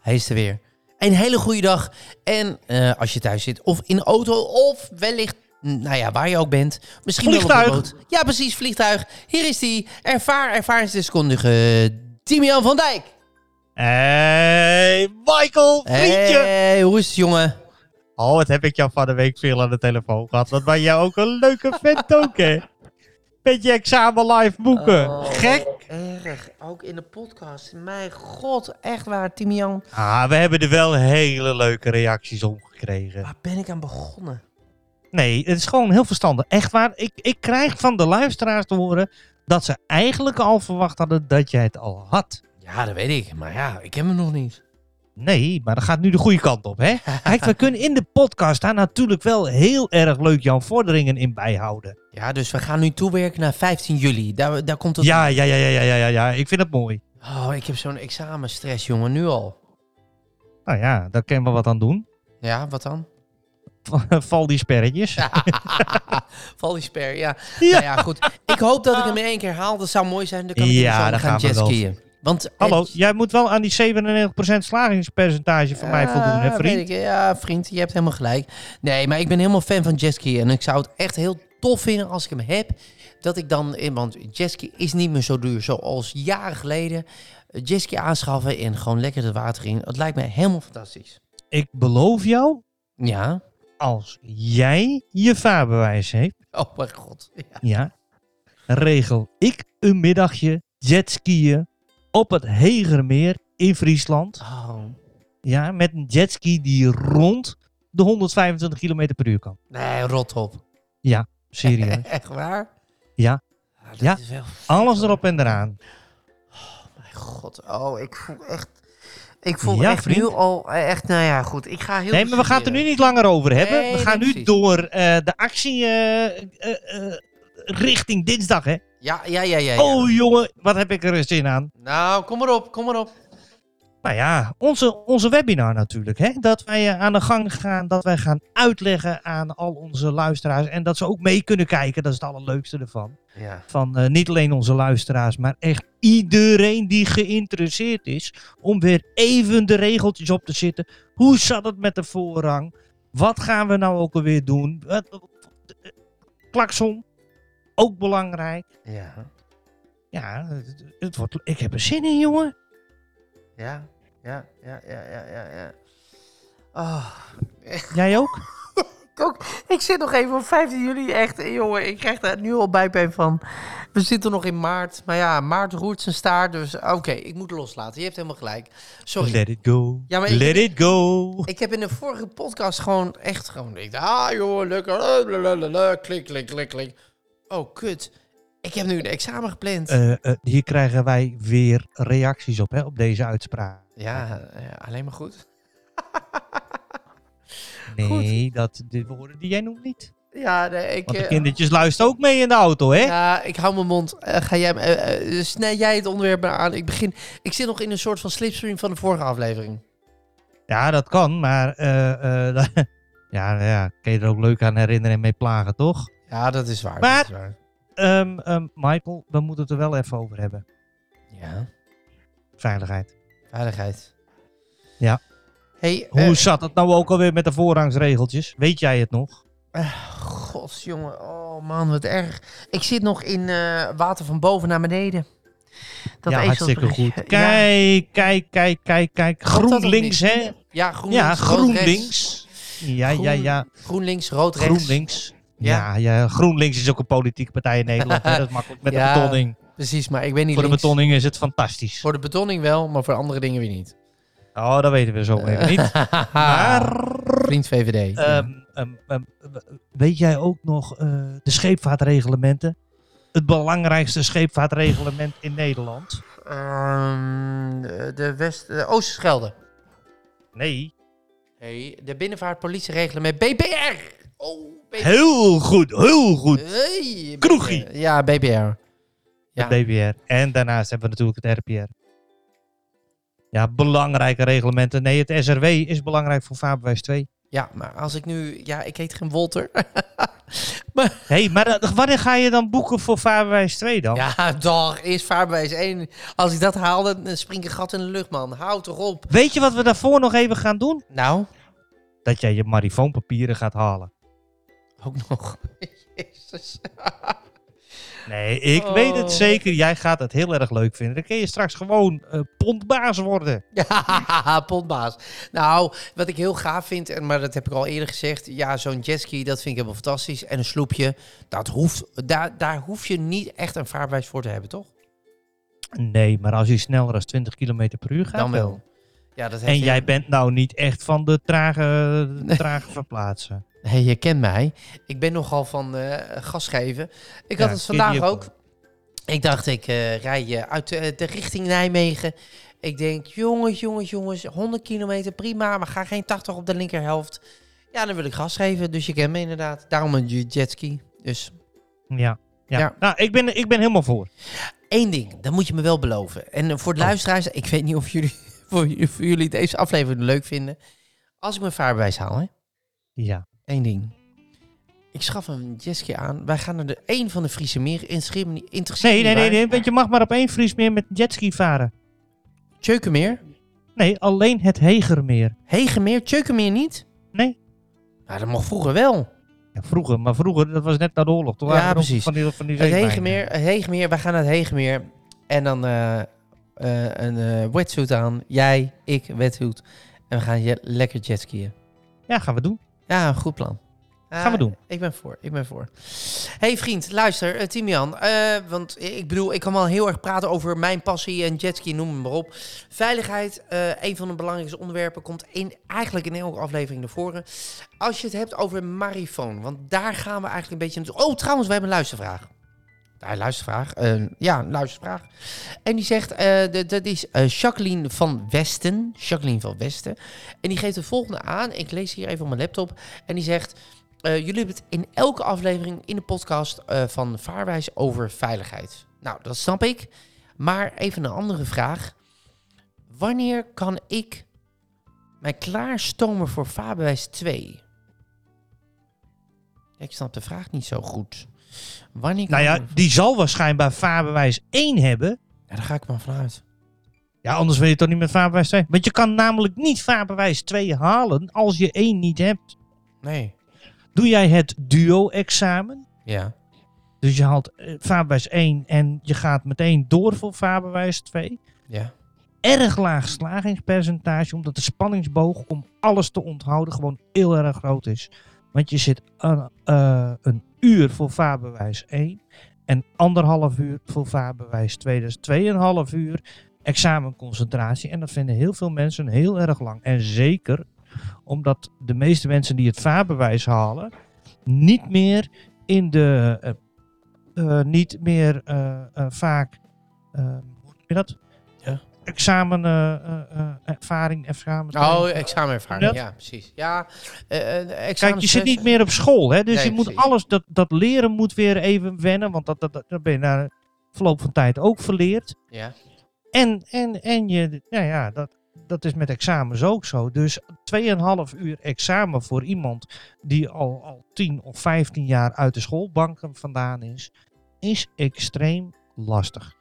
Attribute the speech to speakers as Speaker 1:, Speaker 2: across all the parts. Speaker 1: Hij is er weer. Een hele goede dag. En eh, als je thuis zit, of in de auto, of wellicht, mm, nou ja, waar je ook bent. Misschien wel op
Speaker 2: Vliegtuig.
Speaker 1: de boot. Ja, precies, vliegtuig. Hier is die ervaar ervaringsdeskundige Timian van Dijk.
Speaker 2: Hey, Michael, vriendje.
Speaker 1: Hey, hoe is het, jongen?
Speaker 2: Oh, wat heb ik jou van de week veel aan de telefoon gehad. Wat ben jij ook een leuke vent ook, hè? Met je examen live boeken. Gek.
Speaker 1: Erg, ook in de podcast. Mijn god, echt waar, Timian.
Speaker 2: Ah, we hebben er wel hele leuke reacties om gekregen.
Speaker 1: Waar ben ik aan begonnen?
Speaker 2: Nee, het is gewoon heel verstandig. Echt waar, ik, ik krijg van de luisteraars te horen dat ze eigenlijk al verwacht hadden dat jij het al had.
Speaker 1: Ja, dat weet ik. Maar ja, ik heb hem nog niet.
Speaker 2: Nee, maar dat gaat nu de goede kant op, hè? Kijk, we kunnen in de podcast daar natuurlijk wel heel erg leuk jouw vorderingen in bijhouden.
Speaker 1: Ja, dus we gaan nu toewerken naar 15 juli. Daar, daar komt het...
Speaker 2: Ja, ja, ja, ja, ja, ja, ja, ja. Ik vind het mooi.
Speaker 1: Oh, ik heb zo'n examenstress, jongen, nu al.
Speaker 2: Nou ja, daar kunnen we wat aan doen.
Speaker 1: Ja, wat dan?
Speaker 2: Val die sperretjes. Ja,
Speaker 1: Val die sper, ja.
Speaker 2: Ja.
Speaker 1: Nou ja, goed. Ik hoop dat ik hem in één keer haal. Dat zou mooi zijn. Dan kan ik
Speaker 2: Ja,
Speaker 1: ja,
Speaker 2: dan
Speaker 1: gaan
Speaker 2: gaan we wel.
Speaker 1: jetskiën. Want eh,
Speaker 2: Hallo,
Speaker 1: het-
Speaker 2: jij moet wel aan die 97% slagingspercentage van mij
Speaker 1: Ja,
Speaker 2: voldoen, hè vriend?
Speaker 1: Eh, weet ik. ja, vriend, je hebt helemaal gelijk. Nee, maar ik ben helemaal fan van jetski. En ik zou het echt heel tof vinden als ik hem heb. Dat ik dan, eh, want jetski is niet meer zo duur zoals jaren geleden. Eh, Jetski aanschaffen en gewoon lekker het water in. Het lijkt mij helemaal fantastisch.
Speaker 2: Ik beloof jou,
Speaker 1: Ja.
Speaker 2: als jij je vaarbewijs heeft,
Speaker 1: Oh mijn god. Ja.
Speaker 2: ja, regel ik een middagje jetskiën op het Hegermeer in Friesland.
Speaker 1: Oh.
Speaker 2: Ja, met een jetski die rond de 125 km per uur kan.
Speaker 1: Nee, rot op.
Speaker 2: Serieus.
Speaker 1: Echt waar?
Speaker 2: Ja.
Speaker 1: Ah, dat
Speaker 2: Ja.
Speaker 1: is wel
Speaker 2: Alles erop en eraan.
Speaker 1: Mijn god, oh, ik voel echt... Ik voel
Speaker 2: Ja,
Speaker 1: echt
Speaker 2: vriend.
Speaker 1: nu al... eh, Echt, nou ja, goed. Ik ga heel...
Speaker 2: Nee, maar we gaan het er nu niet langer over hebben.
Speaker 1: Nee,
Speaker 2: we gaan
Speaker 1: nee,
Speaker 2: nu
Speaker 1: precies.
Speaker 2: door eh, de actie eh, eh, eh, richting dinsdag, hè?
Speaker 1: Ja, ja, ja, ja. ja.
Speaker 2: Oh jongen, wat heb ik er zin aan.
Speaker 1: Nou, kom maar op, kom maar op.
Speaker 2: Nou ja, onze, onze webinar natuurlijk, hè? Dat wij eh, aan de gang gaan, dat wij gaan uitleggen aan al onze luisteraars. En dat ze ook mee kunnen kijken, dat is het allerleukste ervan.
Speaker 1: Ja.
Speaker 2: Van eh, niet alleen onze luisteraars, maar echt iedereen die geïnteresseerd is. Om weer even de regeltjes op te zitten. Hoe zat het met de voorrang? Wat gaan we nou ook alweer doen? Wat- Klakson, ook belangrijk.
Speaker 1: Ja.
Speaker 2: Ja, het, het wordt, ik heb er zin in, jongen.
Speaker 1: Ja, ja, ja, ja, ja, ja, ja. Oh,
Speaker 2: Jij ook?
Speaker 1: ook, ik zit nog even op 15 juli echt, eh, jongen, ik krijg daar nu al bijpijn van. We zitten nog in maart, maar ja, maart roert zijn staart, dus oké, ik moet loslaten. Je hebt helemaal gelijk. Sorry.
Speaker 2: Let it go.
Speaker 1: Ja, maar ik- Eh,
Speaker 2: Let it go.
Speaker 1: Ik heb in de vorige podcast gewoon echt gewoon... Ik dacht, ah joh, lekker, eh, blablabla, klik, klik, klik, klik. Oh, kut. Ik heb nu een examen gepland.
Speaker 2: Eh, eh, hier krijgen wij weer reacties op, hè, op deze uitspraak.
Speaker 1: ja, eh, alleen maar goed.
Speaker 2: Nee, dat, de woorden die jij noemt niet.
Speaker 1: Ja, nee, ik...
Speaker 2: Want de
Speaker 1: eh,
Speaker 2: kindertjes luisteren ook mee in de auto, hè?
Speaker 1: Ja, ik hou mijn mond. Eh, ga jij, eh, eh, snij jij het onderwerp maar aan. Ik begin. Ik zit nog in een soort van slipstream van de vorige aflevering.
Speaker 2: Ja, dat kan, maar eh, eh, da- ja, nou ja, kun je er ook leuk aan herinneren en mee plagen, toch?
Speaker 1: Ja, dat is waar.
Speaker 2: Maar-
Speaker 1: dat is waar.
Speaker 2: Ehm, ehm, Michael, we moeten het er wel even over hebben.
Speaker 1: Ja,
Speaker 2: Veiligheid.
Speaker 1: veiligheid.
Speaker 2: Ja.
Speaker 1: Hey,
Speaker 2: Hoe
Speaker 1: eh,
Speaker 2: zat het nou ook alweer met de voorrangsregeltjes? Weet jij het nog?
Speaker 1: gods, jongen. Oh man, wat erg. Ik zit nog in eh, water van boven naar beneden. Dat
Speaker 2: ja,
Speaker 1: ezelsbrugje.
Speaker 2: hartstikke goed.
Speaker 1: Ja,
Speaker 2: Kijk, kijk, kijk, kijk, kijk.
Speaker 1: God, dat ook
Speaker 2: GroenLinks,
Speaker 1: niet.
Speaker 2: hè?
Speaker 1: ja, groen
Speaker 2: Ja,
Speaker 1: links, rood rechts.
Speaker 2: GroenLinks. Ja, ja, ja.
Speaker 1: Groen links, rood rechts.
Speaker 2: GroenLinks. Ja. Ja, GroenLinks is ook een politieke partij in Nederland. hè. Dat is makkelijk met
Speaker 1: Ja,
Speaker 2: de betonning.
Speaker 1: Precies, maar ik ben niet
Speaker 2: Voor de
Speaker 1: links.
Speaker 2: betonning is het fantastisch.
Speaker 1: Voor de betonning wel, maar voor andere dingen weer niet.
Speaker 2: Oh, dat weten we zo even niet. Maar
Speaker 1: Vriend VVD. ja.
Speaker 2: ehm, ehm, ehm, weet jij ook nog eh, de scheepvaartreglementen? Het belangrijkste scheepvaartreglement in Nederland. eh,
Speaker 1: Ehm, de West, de Oosterschelde.
Speaker 2: Nee.
Speaker 1: Hey, de binnenvaartpolitie regelen met BPR. Oh, BPR.
Speaker 2: Heel goed, heel
Speaker 1: Eh,
Speaker 2: goed.
Speaker 1: Hey,
Speaker 2: Kroegie.
Speaker 1: BPR. Ja, BPR. Ja.
Speaker 2: Het BBR. En daarnaast hebben we natuurlijk het RPR. Ja, belangrijke reglementen. Nee, het SRW is belangrijk voor vaarbewijs 2.
Speaker 1: Ja, maar als ik nu... Ja, ik heet geen Wolter.
Speaker 2: Hé, hey, maar eh, wanneer ga je dan boeken voor vaarbewijs 2 dan?
Speaker 1: Ja, dag, is vaarbewijs één. Als ik dat haal, dan eh, spring ik een gat in de lucht, man. Hou toch op.
Speaker 2: Weet je wat we daarvoor nog even gaan doen?
Speaker 1: Nou,
Speaker 2: Dat jij je marifoonpapieren gaat halen.
Speaker 1: ook nog. Jezus.
Speaker 2: Nee, ik
Speaker 1: Oh.
Speaker 2: weet het zeker. Jij gaat het heel erg leuk vinden. Dan kun je straks gewoon eh pondbaas worden.
Speaker 1: Ja, potbaas. Nou, wat ik heel gaaf vind, en maar dat heb ik al eerder gezegd. Ja, zo'n jetski, dat vind ik helemaal fantastisch. En een sloepje, dat hoeft, daar, daar hoef je niet echt een vaarbewijs voor te hebben, toch?
Speaker 2: Nee, maar als je sneller dan 20 km per uur gaat.
Speaker 1: Dan wel. Ja, dat heeft
Speaker 2: En
Speaker 1: heel-
Speaker 2: jij bent nou niet echt van de trage, de trage verplaatsen.
Speaker 1: Hey, je kent mij. Ik ben nogal van eh gas geven. Ik had
Speaker 2: Ja,
Speaker 1: het vandaag
Speaker 2: zie je
Speaker 1: ook. Ik dacht, ik eh, rij eh, uit eh, de richting Nijmegen. Ik denk, jongens, jongens, jongens, 100 kilometer, prima. Maar ga geen 80 op de linkerhelft. Ja, dan wil ik gas geven. Dus je kent me inderdaad. Daarom een j- jetski. Dus
Speaker 2: Ja. Ja.
Speaker 1: Ja.
Speaker 2: Nou, ik ben, ik ben helemaal voor.
Speaker 1: één ding, dat moet je me wel beloven. En eh, voor de
Speaker 2: Oh.
Speaker 1: luisteraars, ik weet niet of jullie, voor, j- voor jullie deze aflevering leuk vinden. Als ik mijn vaarbewijs haal, hè.
Speaker 2: Ja.
Speaker 1: Eén ding. Ik schaf een jetski aan. Wij gaan naar de een van de Friese meer in Schimmen. Interesseert
Speaker 2: Nee, nee, nee, nee, want
Speaker 1: Weet
Speaker 2: je mag maar op één Fries meer met jetski varen.
Speaker 1: Tjeukenmeer?
Speaker 2: Nee, alleen het Hegermeer.
Speaker 1: Hegemeer? Tjeukenmeer niet?
Speaker 2: Nee.
Speaker 1: Nou, dat mocht vroeger wel.
Speaker 2: Ja, vroeger, maar vroeger, dat was net na de oorlog. Toen
Speaker 1: Ja,
Speaker 2: waren er nog
Speaker 1: precies.
Speaker 2: Van die, van die
Speaker 1: Het
Speaker 2: zeemijnen.
Speaker 1: Hegemeer, het Hegemeer, wij gaan naar het Hegemeer. En dan eh, eh, een eh wetsuit aan. Jij, ik, wetsuit. En we gaan je lekker jetskiën.
Speaker 2: Ja, gaan we doen.
Speaker 1: Ja, een goed plan.
Speaker 2: Gaan
Speaker 1: Ah,
Speaker 2: we doen.
Speaker 1: Ik ben voor, ik ben voor. hey vriend, luister, eh, Timian. eh, want ik bedoel, ik kan wel heel erg praten over mijn passie en jetski, noem het maar op. Veiligheid, eh, een van de belangrijkste onderwerpen, komt in, eigenlijk in elke aflevering naar voren. Als je het hebt over marifoon, want daar gaan we eigenlijk een beetje naartoe. Oh, trouwens, we hebben een luistervraag. Ja, luistervraag. eh, ja, een luistervraag. En die zegt, eh, dat- dat is eh, Jacqueline van Westen. Jacqueline van Westen. En die geeft het volgende aan. Ik lees hier even op mijn laptop. En die zegt, eh, jullie hebben het in elke aflevering in de podcast eh, van Vaarwijs over veiligheid. Nou, dat snap ik. Maar even een andere vraag. Wanneer kan ik mij klaarstomen voor vaarbewijs 2? Ik snap de vraag niet zo goed. Wanneer kan
Speaker 2: Nou ja,
Speaker 1: ik-
Speaker 2: die zal waarschijnlijk vaarbewijs 1 hebben.
Speaker 1: ja, daar ga ik maar vanuit.
Speaker 2: Ja, anders wil je toch niet met vaarbewijs 2. Want je kan namelijk niet vaarbewijs 2 halen als je 1 niet hebt.
Speaker 1: Nee.
Speaker 2: Doe jij het duo-examen?
Speaker 1: Ja.
Speaker 2: Dus je haalt eh, vaarbewijs 1 en je gaat meteen door voor vaarbewijs 2.
Speaker 1: Ja.
Speaker 2: erg laag slagingspercentage, omdat de spanningsboog om alles te onthouden gewoon heel erg groot is. Want je zit aan, eh, een uur voor vaarbewijs 1 en anderhalf uur voor vaarbewijs 2. Dus 2,5 uur examenconcentratie. En dat vinden heel veel mensen heel erg lang. En zeker omdat de meeste mensen die het vaarbewijs halen, niet meer in de. eh, eh, niet meer eh, eh, vaak. eh, hoe noem je dat? examen eh, eh, eh, ervaring, examen.
Speaker 1: Oh, examenervaring.
Speaker 2: Dat-
Speaker 1: Ja, precies. Ja, eh, eh,
Speaker 2: Kijk, je zit
Speaker 1: examenstress-
Speaker 2: niet meer op school, hè? Dus
Speaker 1: Nee,
Speaker 2: je moet
Speaker 1: precies.
Speaker 2: alles, dat, dat leren moet weer even wennen, want dat, dat, dat, dat ben je na verloop van tijd ook verleerd.
Speaker 1: Ja.
Speaker 2: En, en, en je, nou ja, dat, dat is met examens ook zo. Dus 2,5 uur examen voor iemand die al, al 10 of 15 jaar uit de schoolbanken vandaan is, is extreem lastig.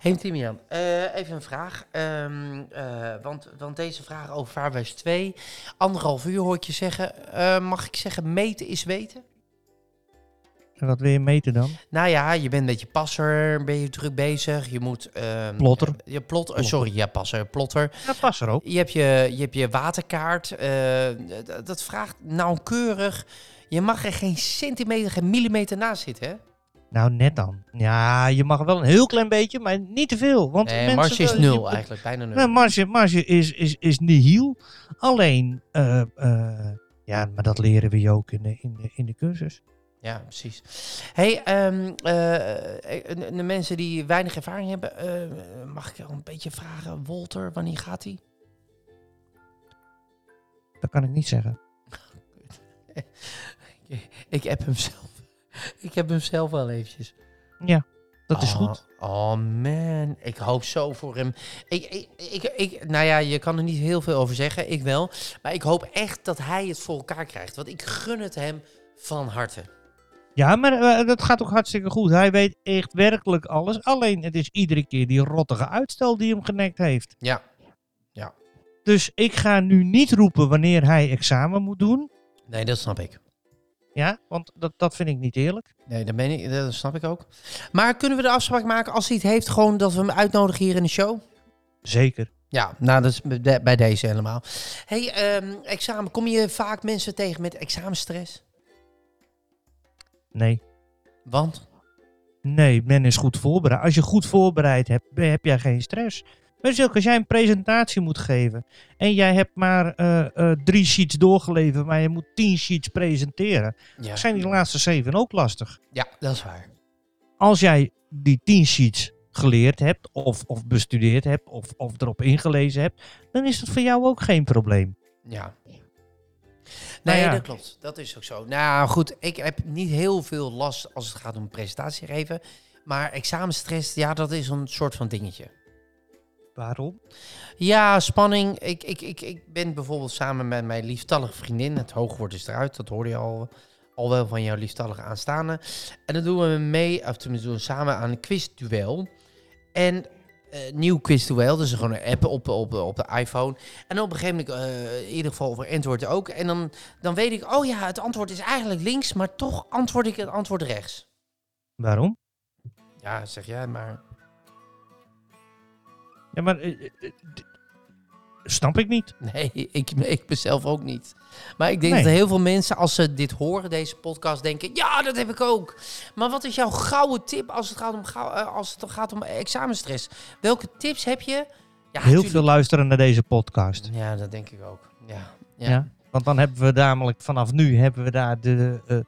Speaker 1: Hey Timian, eh, even een vraag. Ehm, eh, want, want deze vraag over vaarwijs 2, anderhalf uur hoor ik je zeggen. Eh, mag ik zeggen, meten is weten?
Speaker 2: En wat wil je meten dan?
Speaker 1: Nou ja, je bent een beetje passer, ben je druk bezig. Je moet... ehm,
Speaker 2: Plotter.
Speaker 1: eh, je plot, eh,
Speaker 2: Plotter.
Speaker 1: sorry, ja, passer, plotter.
Speaker 2: Dat past er ook.
Speaker 1: Je hebt je, je, hebt je waterkaart. eh, d- dat vraagt nauwkeurig. Je mag er geen centimeter, geen millimeter naast zitten, hè?
Speaker 2: Nou, net dan. Ja, je mag wel een heel klein beetje, maar niet te veel. Want
Speaker 1: Nee,
Speaker 2: mensen
Speaker 1: marge is
Speaker 2: willen-
Speaker 1: nul
Speaker 2: je- Nou,
Speaker 1: eigenlijk, bijna nul.
Speaker 2: Nee, marge, marge is, is, is nihil. Alleen, eh, eh, ja, maar dat leren we je ook in de, in de, in de cursus.
Speaker 1: Ja, precies. Hey, ehm, eh, eh, de mensen die weinig ervaring hebben, eh, mag ik al een beetje vragen, Walter, wanneer gaat hij?
Speaker 2: Dat kan ik niet zeggen.
Speaker 1: Ik app hem zelf. Ik heb hem zelf wel eventjes.
Speaker 2: Ja, dat is
Speaker 1: Oh,
Speaker 2: goed.
Speaker 1: Oh man, ik hoop zo voor hem. Ik, ik, ik, ik- nou ja, je kan er niet heel veel over zeggen, ik wel. Maar ik hoop echt dat hij het voor elkaar krijgt. Want ik gun het hem van harte.
Speaker 2: Ja, maar eh, dat gaat ook hartstikke goed. Hij weet echt werkelijk alles. Alleen het is iedere keer die rottige uitstel die hem genekt heeft.
Speaker 1: Ja.
Speaker 2: Dus ik ga nu niet roepen wanneer hij examen moet doen.
Speaker 1: Nee, dat snap ik.
Speaker 2: Ja, want dat, dat vind ik niet eerlijk.
Speaker 1: Nee, dat, ben ik, dat snap ik ook. Maar kunnen we de afspraak maken als hij het heeft, gewoon dat we hem uitnodigen hier in de show?
Speaker 2: Zeker.
Speaker 1: Ja, nou, dat is bij de- bij deze helemaal. hey, ehm, examen. Kom je vaak mensen tegen met examenstress?
Speaker 2: Nee.
Speaker 1: Want?
Speaker 2: Nee, men is goed voorbereid. Als je goed voorbereid hebt, be- heb jij geen stress. Maar Zulke, als jij een presentatie moet geven en jij hebt maar eh, eh, drie sheets doorgeleverd, maar je moet tien sheets presenteren,
Speaker 1: Ja.
Speaker 2: zijn die laatste zeven ook lastig.
Speaker 1: ja, dat is waar.
Speaker 2: Als jij die tien sheets geleerd hebt, of, of bestudeerd hebt, of, of erop ingelezen hebt, dan is dat voor jou ook geen probleem.
Speaker 1: Ja. Nee,
Speaker 2: Nou ja.
Speaker 1: dat klopt. Dat is ook zo. Nou goed, ik heb niet heel veel last als het gaat om presentatie geven. Maar examenstress, ja, dat is een soort van dingetje.
Speaker 2: Waarom?
Speaker 1: Ja, spanning. Ik, ik, ik, ik ben bijvoorbeeld samen met mijn lieftallige vriendin. Het hoogwoord is eruit, dat hoorde je al, al wel van jouw lieftallige aanstaande. En dan doen we mee, of tenminste doen we samen aan een quizduel. En eh, nieuw quizduel, dus gewoon een app op, op, op de iPhone. En op een gegeven moment, eh, in ieder geval over antwoord ook. En dan, dan weet ik, oh ja, het antwoord is eigenlijk links, maar toch antwoord ik het antwoord rechts.
Speaker 2: Waarom?
Speaker 1: Ja, zeg jij maar.
Speaker 2: Ja, maar eh, eh, eh, d- snap ik niet.
Speaker 1: Nee, ik, ik mezelf ook niet. Maar ik denk
Speaker 2: Nee.
Speaker 1: dat heel veel mensen, als ze dit horen, deze podcast, denken: ja, dat heb ik ook. Maar wat is jouw gouden tip als het gaat om, gauw- eh, als het gaat om examenstress? Welke tips heb je? Ja,
Speaker 2: Heel
Speaker 1: tuurlijk-
Speaker 2: veel luisteren naar deze podcast.
Speaker 1: Ja, dat denk ik ook. Ja, ja.
Speaker 2: Ja. Want dan hebben we namelijk vanaf nu hebben we daar de. eh,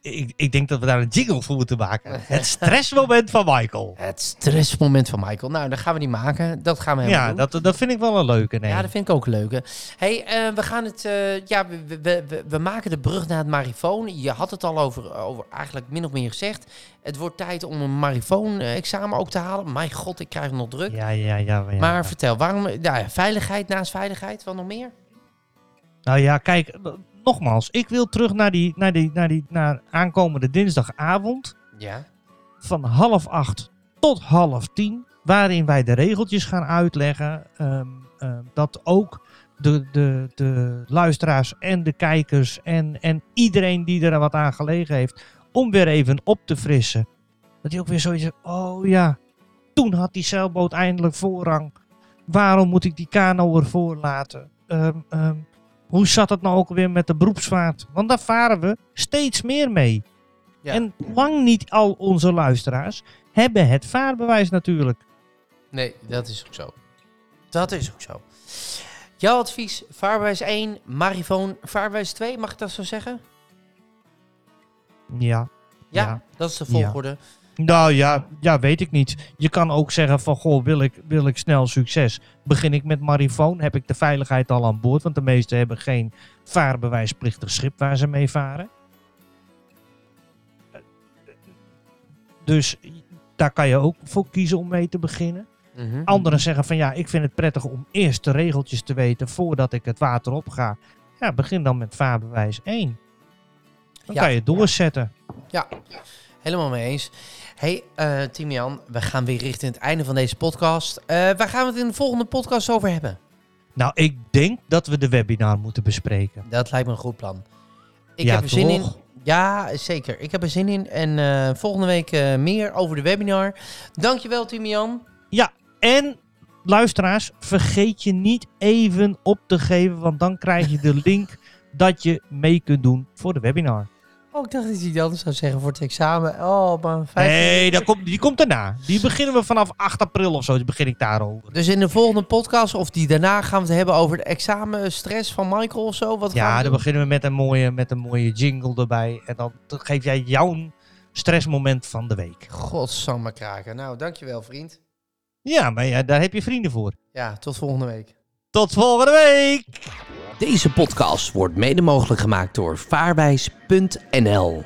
Speaker 2: ik, ik denk dat we daar een jingle voor moeten maken. Het stressmoment van Michael.
Speaker 1: Het stressmoment van Michael. Nou, dat gaan we niet maken. Dat gaan we helemaal
Speaker 2: Ja,
Speaker 1: doen.
Speaker 2: dat, dat vind ik wel een leuke. Nee.
Speaker 1: Ja, dat vind ik ook leuk. hè. hey, eh, we gaan het. eh, ja, we, we- we, we, we maken de brug naar het marifoon. Je had het al over, over eigenlijk min of meer gezegd. Het wordt tijd om een marifoon-examen ook te halen. Mijn god, ik krijg nog druk.
Speaker 2: ja, ja, ja, ja,
Speaker 1: maar
Speaker 2: ja.
Speaker 1: vertel, waarom. Nou, ja, veiligheid naast veiligheid, wat nog meer?
Speaker 2: Nou ja, kijk, eh, nogmaals. Ik wil terug naar die, naar die, naar die naar aankomende dinsdagavond.
Speaker 1: Ja.
Speaker 2: Van half acht tot half tien. Waarin wij de regeltjes gaan uitleggen. ehm, ehm, dat ook de, de, de luisteraars en de kijkers en, en iedereen die er wat aan gelegen heeft, om weer even op te frissen. Dat hij ook weer zoiets heeft, oh ja, toen had die zeilboot eindelijk voorrang. Waarom moet ik die kano ervoor laten? Ehm, ehm, hoe zat het nou ook weer met de beroepsvaart? Want daar varen we steeds meer mee.
Speaker 1: Ja.
Speaker 2: En lang niet al onze luisteraars hebben het vaarbewijs natuurlijk.
Speaker 1: Nee, dat is ook zo. Dat is ook zo. Jouw advies: vaarwijs 1, marifoon, vaarwijs 2, mag ik dat zo zeggen?
Speaker 2: Ja,
Speaker 1: Ja,
Speaker 2: Ja.
Speaker 1: dat is de
Speaker 2: Ja.
Speaker 1: volgorde.
Speaker 2: Nou ja, ja, weet ik niet. Je kan ook zeggen van, goh, wil ik, wil ik snel succes? Begin ik met marifoon? Heb ik de veiligheid al aan boord? Want de meesten hebben geen vaarbewijsplichtig schip waar ze mee varen. Eh, Dus daar kan je ook voor kiezen om mee te beginnen.
Speaker 1: Mhm.
Speaker 2: Mm-hmm. Anderen zeggen van, ja, ik vind het prettig om eerst de regeltjes te weten voordat ik het water op ga. Ja, begin dan met vaarbewijs 1. Dan
Speaker 1: Ja.
Speaker 2: kan je doorzetten.
Speaker 1: Helemaal mee eens. Hey, eh Timian, we gaan weer richting het einde van deze podcast. Eh, waar gaan we het in de volgende podcast over hebben?
Speaker 2: Nou, ik denk dat we de webinar moeten bespreken.
Speaker 1: Dat lijkt me een goed plan. Ik
Speaker 2: Ja,
Speaker 1: heb er zin in.
Speaker 2: toch?
Speaker 1: Ja, zeker. Ik heb er zin in. En eh, volgende week eh, meer over de webinar. Dankjewel, Timian.
Speaker 2: En luisteraars, vergeet je niet even op te geven, want dan krijg je de link dat je mee kunt doen voor de webinar.
Speaker 1: Oh, ik dacht dat hij dat anders zou zeggen voor het examen. Oh, maar vijf...
Speaker 2: Nee, dat komt, die komt daarna. Die beginnen we vanaf 8 april of zo, die begin ik daarover.
Speaker 1: Dus in de volgende podcast of die daarna gaan we het hebben over de examenstress van Michael of zo. Wat gaan
Speaker 2: Ja,
Speaker 1: we
Speaker 2: dan
Speaker 1: doen?
Speaker 2: beginnen we met een mooie, met een mooie jingle erbij. En dan geef jij jouw stressmoment van de week.
Speaker 1: Godsamme kraken. Nou, dankjewel, vriend.
Speaker 2: Ja, maar ja, daar heb je vrienden voor.
Speaker 1: Ja, tot volgende week.
Speaker 2: Tot volgende week!
Speaker 1: Deze podcast wordt mede mogelijk gemaakt door vaarwijs.nl.